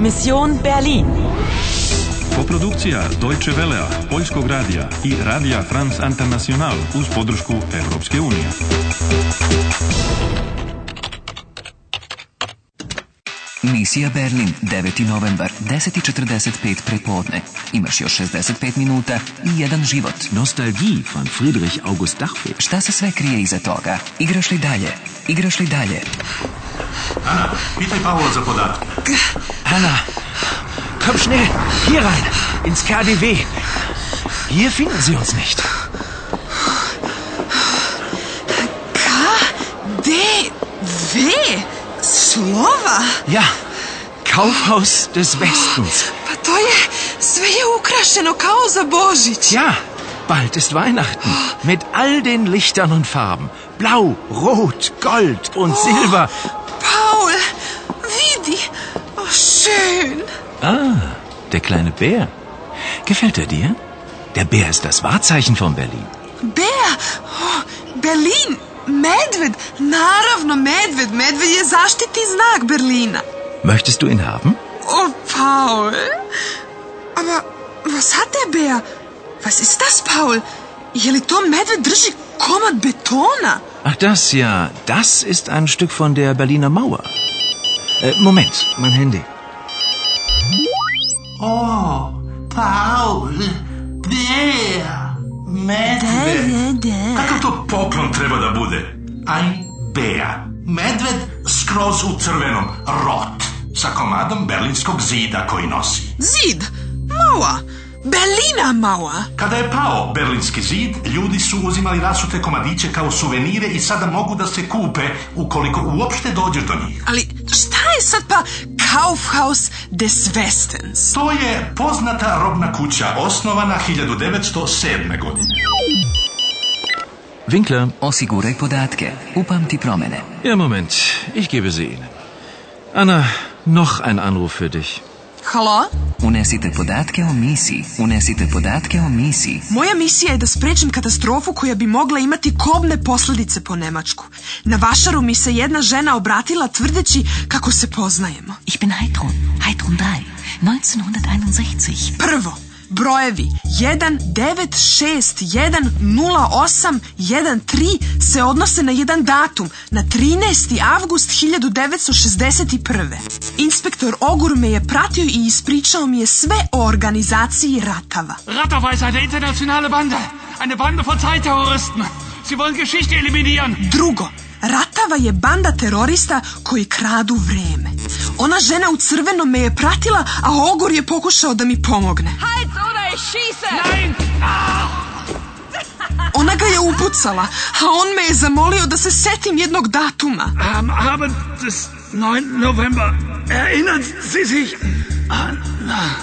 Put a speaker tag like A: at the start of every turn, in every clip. A: Mission Berlin.
B: Koprodukcija Deutsche Velea, Poljskog radija i Radija France International uz podršku Europske unije.
C: Misija Berlin, 9. novembar, 10.45 prepodne. Imaš još 65 minuta i jedan život.
D: Nostalgie von Friedrich August Dachfeld.
C: Šta se sve krije iza toga? Igraš li dalje? Igraš li dalje?
E: Anna, pitaj Paula za podatke.
D: Hanna, komm schnell, hier rein, ins KDW. Hier finden Sie uns nicht.
F: KDW? Slova?
D: Ja, Kaufhaus des Westens.
F: Pa to je, sve je ukrašeno kao za Božić.
D: Ja, bald ist Weihnachten. Mit all den Lichtern und Farben. Blau, Rot, Gold und Silber.
F: Paul, vidi, oh, schön.
D: Ah, der kleine Bär. Gefällt er dir? Der Bär ist das Wahrzeichen von Berlin.
F: Bea, oh, Berlin, medved, naravno medved, medved je zaštitni znak Berlina.
D: Möchtest du ihn haben?
F: Oh, Paul. Aber was hat der Bär? Was ist das, Pa Paul? Je li to medved drži komad betona?
D: Ach, das ja. Das ist ein Stück von der Berliner Mauer. Äh, Moment, mein Handy.
G: Oh, Paul, Bea, Medved.
E: Kakav to poklon treba da bude?
G: Ein Bea.
E: Medved skroz u crvenom, rot, sa komadom berlinskog zida koji nosi.
F: Zid, maua, Berlina maua.
E: Kada je pao berlinski zid, ljudi su uzimali rasute komadiće kao suvenire i sada mogu da se kupe ukoliko uopšte dođeš do njih.
F: Ali šta je sad pa Kaufhaus des Westens?
E: To je poznata robna kuća osnovana 1907. godine.
D: Winkler.
C: Osiguraj podatke. Upamti promene.
D: Ja, Moment, ich gebe sie Ihnen. Anna, noch ein Anruf für dich.
F: Halo?
C: Unesite podatke o misiji. Unesite podatke o misiji.
F: Moja misija je da sprečim katastrofu koja bi mogla imati kobne posljedice po Nemačku. Na Vašaru mi se jedna žena obratila tvrdeći kako se poznajemo.
H: Ich bin Heidrun, Heidrun 3, 1961.
F: Prvo, brojevi 19610813 se odnose na jedan datum, na 13. avgust 1961. Inspektor Ogur me je pratio i ispričao mi je sve o organizaciji ratava.
I: Ratov ist eine internationale Bande. Eine Bande von Zeitterroristen. Sie wollen Geschichte eliminieren.
F: Drugo, Ratava je banda terorista koji kradu vreme. Ona žena u crvenom me je pratila, a Ogor je pokušao da mi pomogne.
J: Halt oder ich schieße!
I: Nein!
F: Ona ga je upucala, a on me je zamolio da se setim jednog datuma.
I: Am Abend des 9. November erinnern Sie sich an...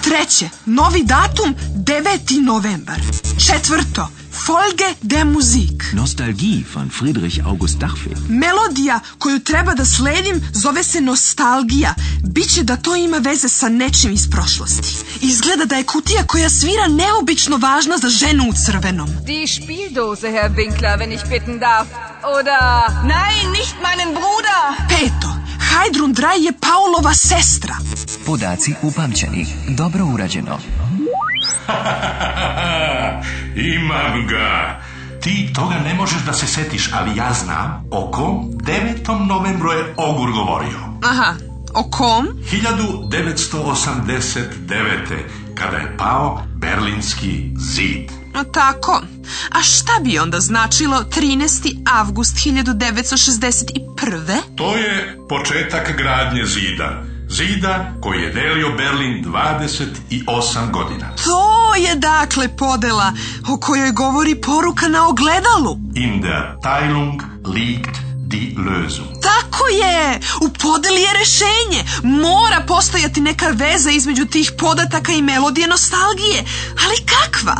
F: Treće, novi datum 9. novembar. Četvrto, Folge de Musik.
D: Nostalgie von Friedrich August Dachfeld.
F: Melodija koju treba da sledim zove se nostalgija. Biće da to ima veze sa nečim iz prošlosti. Izgleda da je kutija koja svira neobično važna za ženu u crvenom.
J: Die Spieldose, Herr Winkler, wenn ich bitten darf. Oder... Nein, nicht meinen Bruder!
F: Peto, Hajdrun Draj je Paulova sestra.
C: Podaci upamćeni. Dobro urađeno.
E: Imam ga.
G: Ti toga ne možeš da se setiš, ali ja znam o kom 9. novembru je Ogur govorio.
F: Aha, o kom?
E: 1989. kada je pao Berlinski zid.
F: No tako. A šta bi onda značilo 13. avgust 1961.
E: To je početak gradnje zida. Zida koji je delio Berlin 28 godina.
F: To je dakle podela o kojoj govori poruka na ogledalu.
E: In der Teilung liegt die Lösung.
F: Tako je! U podeli je rešenje. Mora postojati neka veza između tih podataka i melodije nostalgije. Ali kakva?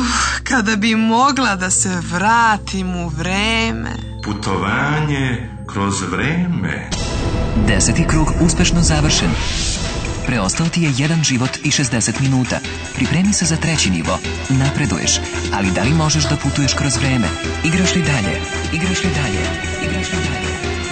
F: Uf, kada bi mogla da se vratim u vreme.
E: Putovanje kroz vreme.
C: Deseti krug uspešno završen. Preostao ti je jedan život i 60 minuta. Pripremi se za treći nivo. Napreduješ, ali da li možeš da putuješ kroz vreme? Igraš li dalje? Igraš li dalje? Igraš li dalje?